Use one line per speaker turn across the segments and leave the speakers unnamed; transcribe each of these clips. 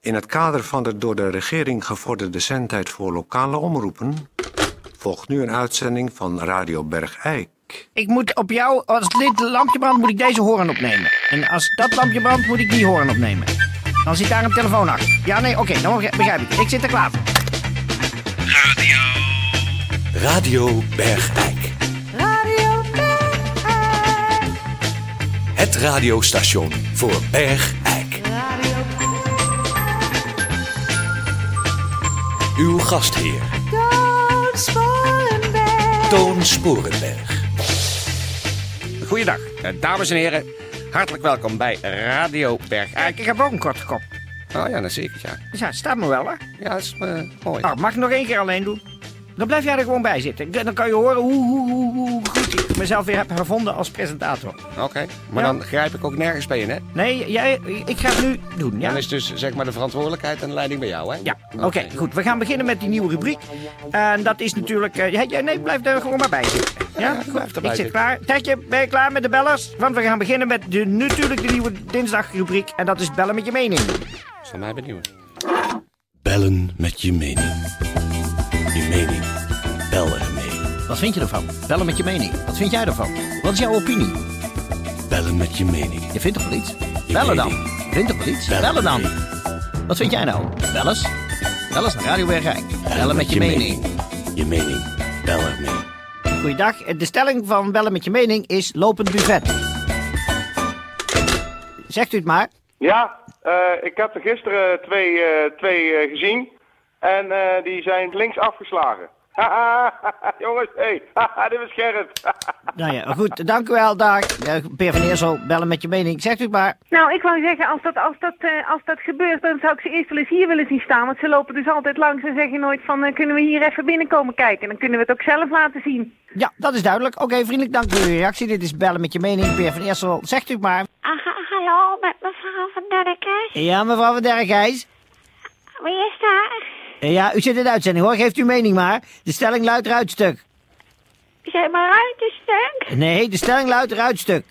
In het kader van de door de regering gevorderde zendtijd voor lokale omroepen volgt nu een uitzending van Radio Bergijk.
Ik moet op jou, als dit lampje brandt, moet ik deze hoorn opnemen. En als dat lampje brandt, moet ik die hoorn opnemen. Dan zit daar een telefoon achter. Ja, nee, oké, dan begrijp ik. Ik zit er klaar voor.
Radio Bergijk.
Radio Bergijk.
Het radiostation voor Bergijk.
Radio
Uw gastheer
Toon Sporenberg.
Toon Sporenberg.
Goeiedag, eh, dames en heren. Hartelijk welkom bij Radio
Kijk,
Bergijk.
ik heb ook een korte kop.
Oh ja, dat zeker, ja.
Dus ja, staat me wel, hè?
Ja, dat is eh, mooi.
Nou, mag ik nog één keer alleen doen? Dan blijf jij er gewoon bij zitten. Dan kan je horen hoe, hoe, hoe, hoe goed ik mezelf weer heb gevonden als presentator.
Oké, maar
Ja.
dan grijp ik ook nergens bij in, hè?
Nee, jij, ik ga het nu doen, ja?
Dan is dus zeg maar de verantwoordelijkheid en de leiding bij jou, hè?
Ja, oké, goed. We gaan beginnen met die nieuwe rubriek. En dat is natuurlijk... eh, ja, ja, nee, blijf er gewoon maar bij zitten. Ja,
blijf
goed.
erbij
Ik zit
zitten.
klaar. Tetje, ben je klaar met de bellers? Want we gaan beginnen met de, natuurlijk de nieuwe dinsdagrubriek. En dat is bellen met je mening.
Dat is van mij benieuwd.
Bellen met je mening. Je mening. Bel ermee.
Wat vind je ervan? Bellen met je mening. Wat vind jij ervan? Wat is jouw opinie?
Bellen met je mening.
Je vindt toch wel iets?
Bellen dan.
Vindt toch wel iets?
Bellen Bellen dan.
Wat vind jij nou? Bel eens. Bel eens naar Radio Bergijk.
Je mening. Bel ermee.
Goeiedag. De stelling van bellen met je mening is lopend buffet. Zegt u het maar.
Ja, eh, ik heb er gisteren twee, eh, twee eh, gezien. En eh, die zijn links afgeslagen. Haha, jongens, hé, hey, dit was Gerrit.
Nou ja, goed. Dank u wel. Dag. Ja, Peer van Eersel, bellen met je mening. Zegt u het maar.
Nou, ik wou zeggen, als dat, als, dat, eh, als dat gebeurt, dan zou ik ze eerst wel eens hier willen zien staan. Want ze lopen dus altijd langs en zeggen nooit van, eh, kunnen we hier even binnenkomen kijken? Dan kunnen we het ook zelf laten zien.
Ja, dat is duidelijk. Oké, vriendelijk dank voor uw reactie. Dit is bellen met je mening. Peer van Eersel, zegt u het maar.
Ah, ha- hallo, met mevrouw van Dennekes.
Ja, mevrouw van Dergijs.
Wie is daar?
Ja, u zit in de uitzending hoor. Geeft uw mening maar. De stelling luidt eruit stuk.
Zijn maar uit een stuk.
Nee, de stelling luidt eruit stuk.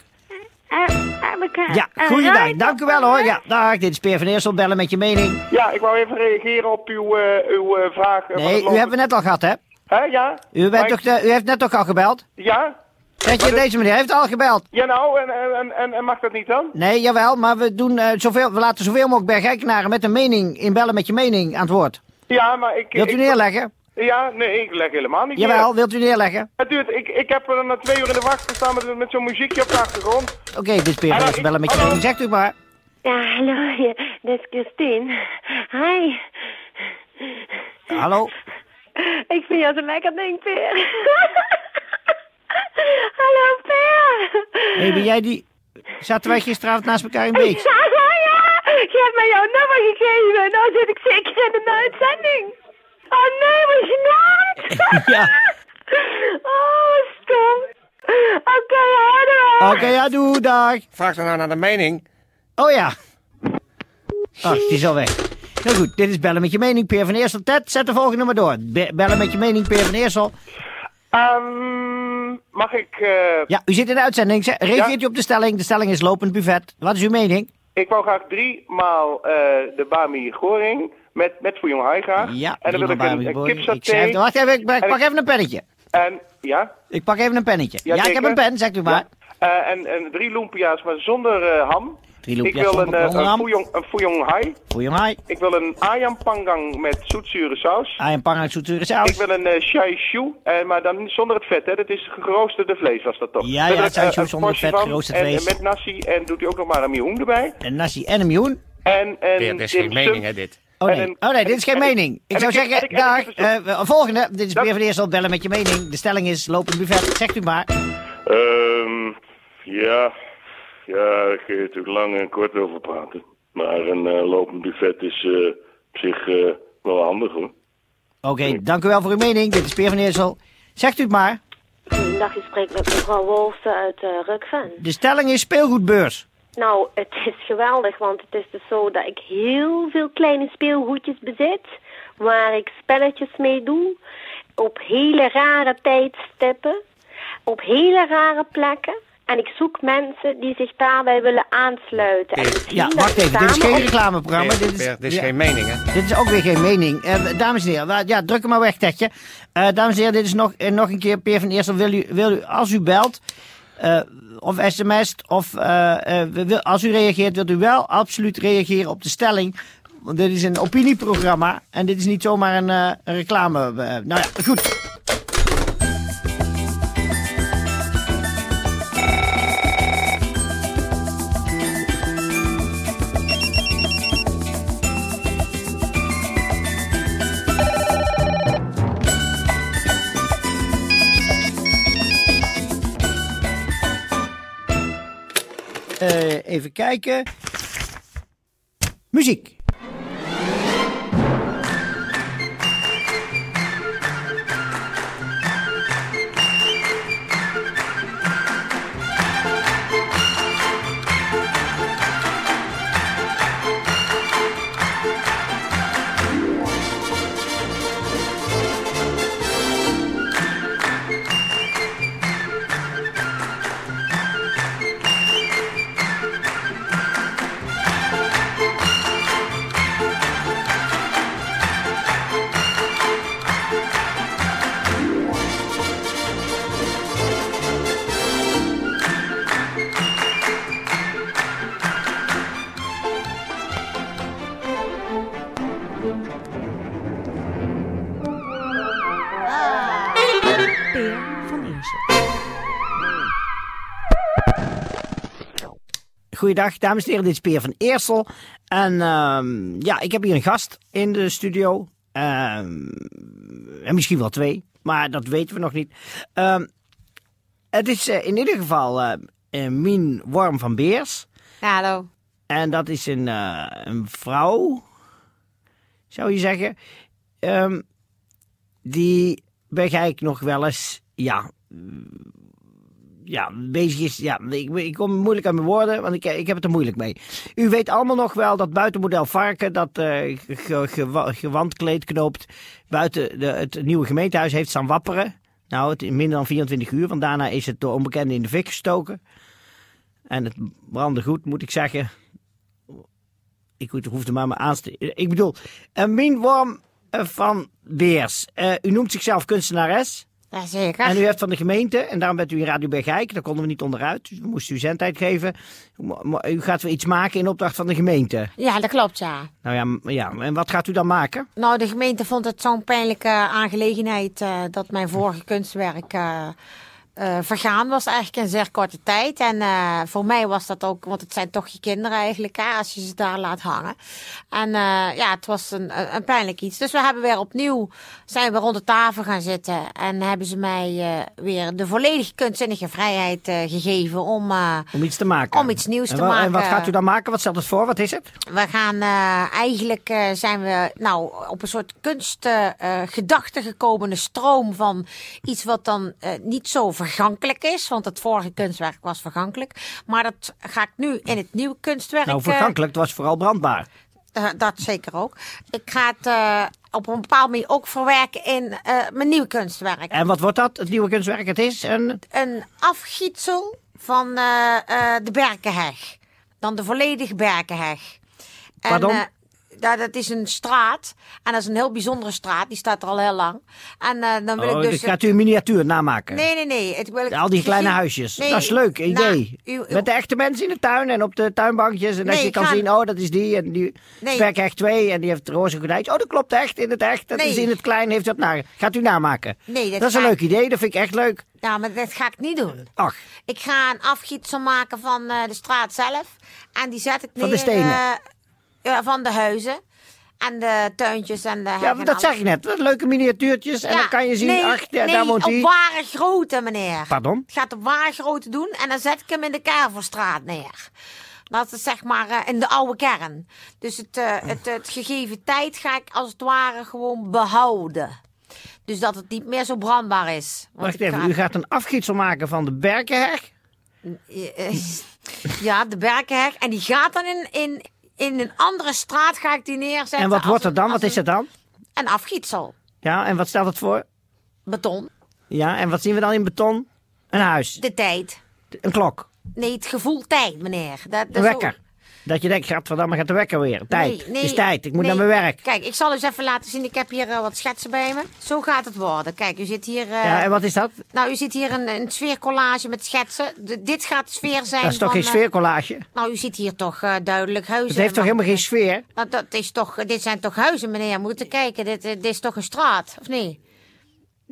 Eh, heb ik een-
Ja,
een
goeiedag.
ruit
Dank u wel
op
hoor.
mijn
Ja, dag. Dit is Peer van Eersel, bellen met je mening.
Ja, ik wou even reageren op uw, eh, uw eh, vraag. eh, van het
Nee, u
lopen-
hebben we net al gehad hè?
Hè, ja?
U,
Maar
bent
ik-
toch, de- u heeft net toch al gebeld?
Ja?
Zeg je, deze meneer heeft al gebeld.
Ja, nou, en, en- en, en, en mag dat niet dan?
Nee, jawel, maar we, doen, eh, zoveel, we laten zoveel mogelijk bergijkenaren met een mening in bellen met je mening aan het woord.
Ja, maar ik...
Wilt u
ik-
neerleggen?
Ja, nee, ik leg helemaal niet
Jawel,
neer.
wilt u neerleggen?
Het duurt, ik, ik heb er na twee uur in de wacht gestaan met, met zo'n muziekje op de achtergrond.
Oké, dit is Peer
Hallo,
van Eersel, bellen met je
hallo.
mening. Zegt u maar.
Ja, hallo, ja, dit is Christine. Hi.
Hallo?
Ik vind jou zo'n lekker ding, Peer. hallo, Peer.
Hey, ben jij die... Zaten wij gisteravond naast elkaar in
Ik
Beeks?
zag haar, ja. Je hebt mij jouw nummer gegeven en nou zit ik zeker in de uitzending. Oh nee, wat gênant.
Ja.
Oh, wat stom. Oké, houden we.
Oké, ja, doe, dag.
Vraag dan nou naar de mening.
Oh ja. Oh, die is al weg. Heel goed, dit is bellen met je mening, Peer van Eersel. Ted, zet de volgende maar door. Be- bellen met je mening, Peer van Eersel.
Ehm, mag ik... eh,
Ja, u zit in de uitzending. Zeg, Reageert u op de stelling? De stelling is lopend buffet. Wat is uw mening?
Ik wou graag drie maal eh, de Bami Goring met, met Fouillon Hai graag.
Ja,
en dan wil ik
prima,
een,
Barbie
een
Boy. Ik
kipsaté.
schrijf- Wacht even, ik, ik
En
pak
ik-
even een pennetje.
En, ja?
Ik pak even een pennetje. Ja,
Ja,
ik heb
zeker.
een pen, zegt u maar.
Eh, en, en drie lumpia's, maar zonder eh, ham.
Drie lumpia's
ik wil
zonder-
een, eh,
zonder ham.
een, Fouillon, een Fouillon Hai.
Goeie maai.
Ik wil een ayam pangang met zoetzure saus.
Ai en pang uit zoetere saus.
Ik wil een eh shai shu, eh, maar dan zonder het vet, hè. Dat is geroosterde vlees, was dat toch?
Ja,
Ik wil
ja,
er,
shai
eh,
shu
een
zonder
portie
vet,
van
geroosterd
en,
vlees.
En met nasi, en doet u ook nog maar een mioen erbij.
Een nasi en een mioen.
En, en
Peer, dit is
dim
geen
sum.
mening, hè, dit.
Oh
En
nee.
een-
oh nee, dit is geen
en- en-
mening. Ik
en
zou
een kip-
zeggen,
en een
dag,
kip- en een kippensoep.
eh, volgende. Dit is
Dat-
weer van de eerste al bellen met je mening. De stelling is lopend buffet. Zegt u maar.
Ehm ja. ja, daar kun je natuurlijk lang en kort over praten. Maar een eh, lopend buffet is eh, op zich eh, wel handig hoor.
Oké, dank u wel voor uw mening. Dit is Peer van Eersel. Zegt u het maar.
Goedendag, je spreekt met mevrouw Wolfsen uit eh Rukven.
De stelling is speelgoedbeurs.
Nou, het is geweldig, want het is dus zo dat ik heel veel kleine speelgoedjes bezit. Waar ik spelletjes mee doe. Op hele rare tijdstippen. Op hele rare plekken. En ik zoek mensen die zich daarbij willen aansluiten. En
Peer,
zien
Ja,
dat
wacht
we
even. Dit is
samen
geen
op-
reclameprogramma.
Peer,
Dit is,
Peer, dit is
ja,
geen mening, hè?
dit is ook weer geen mening. Eh, dames en heren, wa- ja, druk hem maar weg, Tetje. Eh, dames en heren, dit is nog, eh, nog een keer. Peer van Eersel, wil u, wil u, als u belt eh, of sms't of eh, eh, wil- als u reageert, wilt u wel absoluut reageren op de stelling. Want dit is een opinieprogramma en dit is niet zomaar een eh, een reclame. eh, nou ja, goed. Eh, even kijken. Muziek.
Peer van Eersel.
Goeiedag, dames en heren. Dit is Peer van Eersel. En ehm, ja, ik heb hier een gast in de studio. Ehm, en misschien wel twee, maar dat weten we nog niet. Ehm, het is eh, in ieder geval eh eh, Mien Worm van Beers.
Hallo.
En dat is een, eh, een vrouw, zou je zeggen. Ehm, die begrijp ik nog wel eens, ja, mm, ja, bezig is. Ja, ik, ik kom moeilijk aan mijn woorden, want ik, ik heb het er moeilijk mee. U weet allemaal nog wel dat buitenmodel Varken, dat eh ge- gewa- gewandkleed knoopt, buiten de, het nieuwe gemeentehuis heeft staan wapperen. Nou, het, in minder dan 24 uur, want daarna is het door onbekenden in de fik gestoken. En het brandde goed, moet ik zeggen. Ik hoef- hoefde maar me aan te... Ik bedoel, eh, Mien Worm eh, van Beers. Eh, u noemt zichzelf kunstenares.
Jazeker.
En u hebt van de gemeente, en daarom bent u in Radio Bergijk. Daar konden we niet onderuit. Dus we moesten u zendtijd geven. Maar- maar U gaat weer iets maken in opdracht van de gemeente.
Ja, dat klopt, ja.
Nou ja, m- ja, en wat gaat u dan maken?
Nou, de gemeente vond het zo'n pijnlijke aangelegenheid eh, dat mijn vorige kunstwerk eh, eh, vergaan was eigenlijk in zeer korte tijd. En eh, voor mij was dat ook, want het zijn toch je kinderen eigenlijk, hè, als je ze daar laat hangen. En eh, ja, het was een, een, een pijnlijk iets. Dus we hebben weer opnieuw, zijn we rond de tafel gaan zitten en hebben ze mij eh, weer de volledige kunstzinnige vrijheid eh, gegeven om... eh,
Om iets te maken.
Om iets nieuws
En
te
wa- En wat
maken.
gaat u dan maken? Wat stelt het voor? Wat is het?
We gaan eh, eigenlijk eh, zijn we nou op een soort kunstgedachte gekomen, een stroom van iets wat dan eh, niet zo vergankelijk is, want het vorige kunstwerk was vergankelijk, maar dat ga ik nu in het nieuwe kunstwerk.
nou,
eh,
vergankelijk. Het was vooral brandbaar.
eh, dat zeker ook. Ik ga het eh, op een bepaalde manier ook verwerken in eh, mijn nieuwe kunstwerk.
En wat wordt dat? Het nieuwe kunstwerk? Het is een...
een afgietsel van eh, eh, de Berkenheg. Dan de volledige Berkenheg. En,
Pardon?
eh, daar- dat is een straat. En dat is een heel bijzondere straat. Die staat er al heel lang. En eh, dan wil
Oh,
ik
dus
dus...
gaat u een miniatuur namaken?
Nee, nee, nee. Het wil ik
Al die kleine
gezien-
huisjes.
Nee,
dat is leuk, een
nou,
idee.
u- u-
Met de echte mensen in de tuin en op de tuinbankjes. En dat
Nee,
je
ik
kan
ga-
zien, oh, dat is die. En die
Nee.
werkt echt twee en die heeft roze gordijntjes. Oh, dat klopt echt, in het echt. Dat
Nee.
is in het klein, heeft dat naar. Gaat u namaken?
Nee, dat
is een
ga
leuk
ik-
idee, dat vind ik echt leuk.
Ja, maar dat ga ik niet doen.
Ach,
Ik ga een afgietsel maken van eh, de straat zelf. En die zet ik neer...
Van de stenen?
eh, ja, van de huizen. En de tuintjes en de
ja,
heggen en
dat zeg
alles.
ik net. Wat Leuke miniatuurtjes. En
Ja,
dan kan je zien,
nee,
ach, ja,
nee,
daar woont
op
hij.
ware grootte, meneer.
Pardon?
Het gaat op ware grootte doen en dan zet ik hem in de Kervelstraat neer. Dat is zeg maar eh, in de oude kern. Dus het, eh, het, het gegeven tijd ga ik als het ware gewoon behouden. Dus dat het niet meer zo brandbaar is. Want
Wacht
ik
even,
ga-
u gaat een afgietsel maken van de berkenheg.
eh, Ja, de Berkenheg. En die gaat dan in, in, in een andere straat ga ik die neerzetten.
En wat
als
wordt er
een-
dan?
als
Wat is
een-
dat dan?
Een afgietsel.
Ja, en wat stelt het voor?
Beton.
Ja, en wat zien we dan in beton? Een huis.
De tijd.
Een klok,
Nee, het gevoel tijd, meneer. Dat,
een
dat is ook-
wekker. Dat je denkt, gadverdamme, gaat de wekker weer. Tijd,
Nee, nee,
het is tijd, ik moet
nee.
naar mijn werk.
Kijk, ik zal eens even laten zien. Ik heb hier eh, wat schetsen bij me. Zo gaat het worden. Kijk, u zit hier. eh,
ja, en wat is dat?
Nou, u ziet hier een, een sfeercollage met schetsen. De- dit gaat de sfeer zijn.
Dat is toch
van,
geen
eh,
sfeercollage?
nou, u ziet hier toch eh, duidelijk huizen.
Het heeft toch
en-
helemaal geen sfeer?
Nou, dat is toch, dit zijn toch huizen, meneer? Moet u kijken, dit, eh, dit is toch een straat, of niet?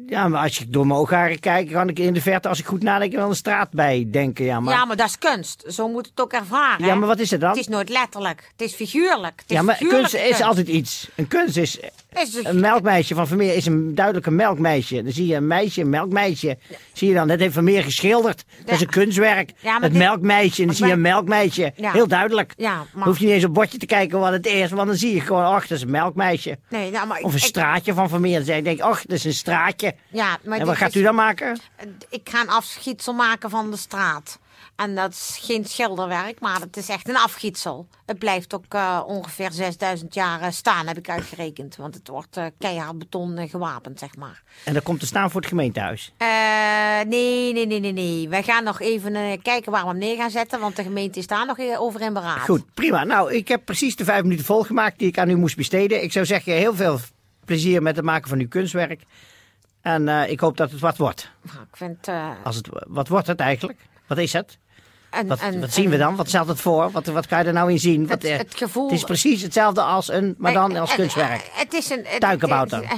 Ja, maar als ik door mijn oogharen kijk, kan ik in de verte, als ik goed nadenk, aan de straat bij denken. Ja, maar,
Ja, maar dat is kunst. Zo moet het ook ervaren.
Ja,
hè?
maar wat is het dan?
Het is nooit letterlijk. Het is figuurlijk. Het is
ja, maar
figuurlijke
kunst is altijd iets. Een kunst is...
Is een-
Een melkmeisje van Vermeer is een duidelijk een melkmeisje. Dan zie je een meisje, een melkmeisje. Zie je dan, dat heeft Vermeer geschilderd. Dat is een kunstwerk.
Ja, maar
het
dit-
melkmeisje, en dan zie je een melkmeisje.
Ja.
Heel duidelijk.
Ja,
Dan
maar...
hoef je niet eens op het bordje te kijken wat het is, want dan zie je gewoon, ach, dat is een melkmeisje.
Nee, nou, maar ik-
Of een
ik-
straatje van Vermeer. Dan zeg ik, denk, ach, dat is een straatje.
Ja, maar
en
dit
wat gaat
is-
u dan maken?
Eh, Ik ga een afgietsel maken van de straat. En dat is geen schilderwerk, maar het is echt een afgietsel. Het blijft ook eh, ongeveer 6000 jaar eh, staan, heb ik uitgerekend. Want het wordt eh, keihard beton eh, gewapend, zeg maar.
En dat komt te staan voor het gemeentehuis.
Eh, nee, nee, nee, nee, nee. Wij gaan nog even eh, kijken waar we hem neer gaan zetten. Want de gemeente is daar nog eh, over in beraad.
Goed, prima. Nou, ik heb precies de vijf minuten volgemaakt die ik aan u moest besteden. Ik zou zeggen, heel veel plezier met het maken van uw kunstwerk. En eh, ik hoop dat het wat wordt.
Nou, ik vind... eh,
Als het, wat wordt het eigenlijk? Wat is het?
een-
Wat,
een-
wat zien we
een-
dan? Wat stelt het voor? Wat, wat kan je er nou in zien? Wat,
Het-
eh,
het gevoel-
is precies hetzelfde als een, maar dan als
Eh, eh,
kunstwerk.
eh, Het is een... eh,
Tuikenbouter.
eh, eh,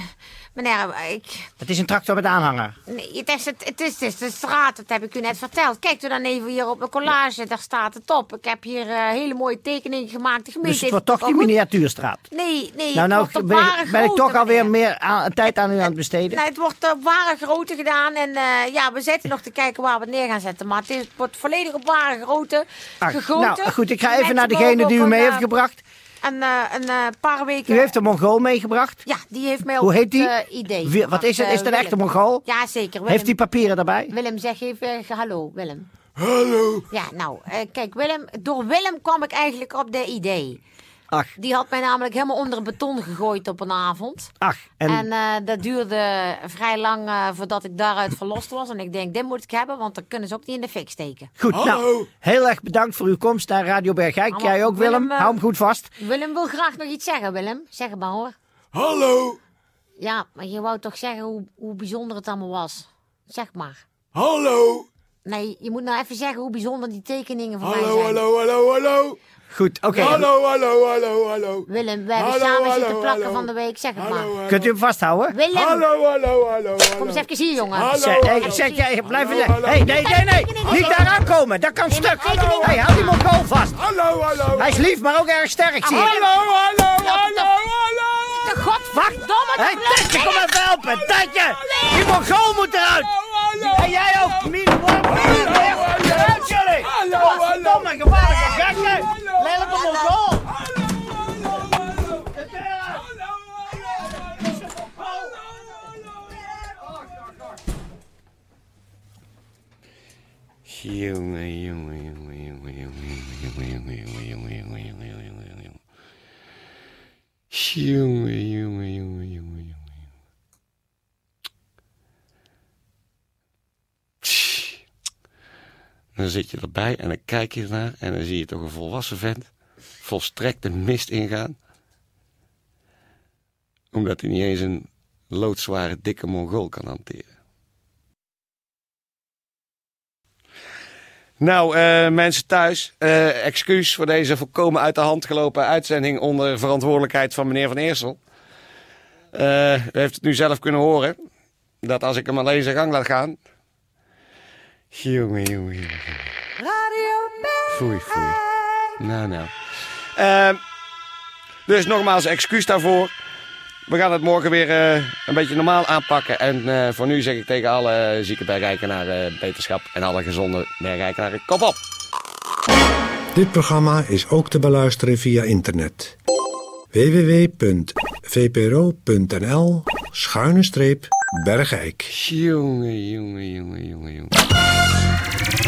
Meneer, ik...
Het is een tractor met aanhanger.
Nee, het, is het, het, is, het is de straat, dat heb ik u net verteld. Kijkt u dan even hier op mijn collage, daar staat het op. Ik heb hier eh, hele mooie tekeningen gemaakt. De gemeente
Dus het
heeft
wordt toch
wel
die
goed-
miniatuurstraat.
Nee, nee,
nou, nou
het wordt op
ben, ik-
ware
ben ik toch
grootte,
alweer
meneer.
meer aan- tijd aan u aan het besteden.
Nee, het wordt op ware grootte gedaan. En eh, ja, we zitten nog te kijken waar we het neer gaan zetten. Maar het, is, het wordt volledig op ware grootte
Ah,
gegoten.
nou, goed, ik ga
Mensen
even naar
mogen
degene die u
ook
mee
een,
heeft
eh,
gebracht.
Een, eh, een eh, paar weken...
U heeft een Mongool meegebracht.
Ja, die heeft mij
Hoe
op
heet die?
het eh, idee
Wie- wat is het?
gebracht.
Is het een
Eh,
echte
Willem.
Mongool?
Ja, zeker. Willem.
Heeft hij papieren daarbij?
Willem, zeg even eh, hallo, Willem.
Hallo.
Ja, nou, eh, kijk, Willem, door Willem kwam ik eigenlijk op de idee.
Ach,
Die had mij namelijk helemaal onder het beton gegooid op een avond.
ach. En,
En, eh, dat duurde vrij lang eh, voordat ik daaruit verlost was. En ik denk, dit moet ik hebben, want dan kunnen ze ook niet in de fik steken.
goed, nou,
Hallo.
heel erg bedankt voor uw komst naar Radio Bergijk.
Allemaal
Jij ook,
goed,
Willem.
Willem, eh,
Hou hem goed vast.
Willem wil graag nog iets zeggen, Willem. Zeg het maar hoor.
Hallo.
Ja, maar je wou toch zeggen hoe, hoe bijzonder het allemaal was? Zeg maar.
Hallo.
Nee, je moet nou even zeggen hoe bijzonder die tekeningen van mij
Hallo,
zijn.
hallo, hallo, hallo.
Goed, oké.
Hallo, hallo, hallo, hallo.
Willem, we hebben
Hallo,
samen
hallo,
zitten plakken
hallo.
van de week. Zeg het
Hallo,
maar.
hallo.
Kunt u hem vasthouden?
Willem,
Hallo, hallo, hallo,
kom eens
hallo.
even hier, jongen.
Hallo.
Zeg, hey, zeg jij, blijf
Hallo,
eens-
hallo.
hey, nee, nee, nee.
Kijk,
Niet daaraan komen. Dat kan stuk.
kijk,
hey, hou die Mongool vast.
Hallo, hallo.
Hij is lief, maar ook erg sterk, zie je.
Hallo, hallo, hallo, hallo.
Godverdomme,
Hé, hey, Tetje, kom even helpen. Tetje, die Mongool moet eruit. En jij ook. Mien, wordt Mien, weg. Eruit jullie.
Hallo, hallo.
Godverdomme, gevaarlijke gasten. Lelijke Mongool.
Jongen, jongen, jongen, jongen, jongen, jongen, jongen, jongen, jongen, jongen, jongen, jongen, jongen, jongen. Jongen, jongen, jongen, jongen, jongen, jongen. Tss. Dan zit je erbij en dan kijk je ernaar en dan zie je toch een volwassen vent volstrekt de mist ingaan. Omdat hij niet eens een loodzware dikke Mongool kan hanteren. Nou, eh, mensen thuis, eh, excuus voor deze volkomen uit de hand gelopen uitzending onder verantwoordelijkheid van meneer Van Eersel. Eh, u heeft het nu zelf kunnen horen, dat als ik hem alleen zijn gang laat gaan... Jongen, jongen, jongen. Foei, foei. Nou, nou. Ehm, dus nogmaals, excuus daarvoor. We gaan het morgen weer eh, een beetje normaal aanpakken. En eh, voor nu zeg ik tegen alle eh, zieke bergrijkenaren eh, beterschap en alle gezonde bergrijkenaren kop op.
Dit programma is ook te beluisteren via internet. www.vpro.nl schuine streep Bergijk.
Jongen, jongen, jongen, jongen, jongen.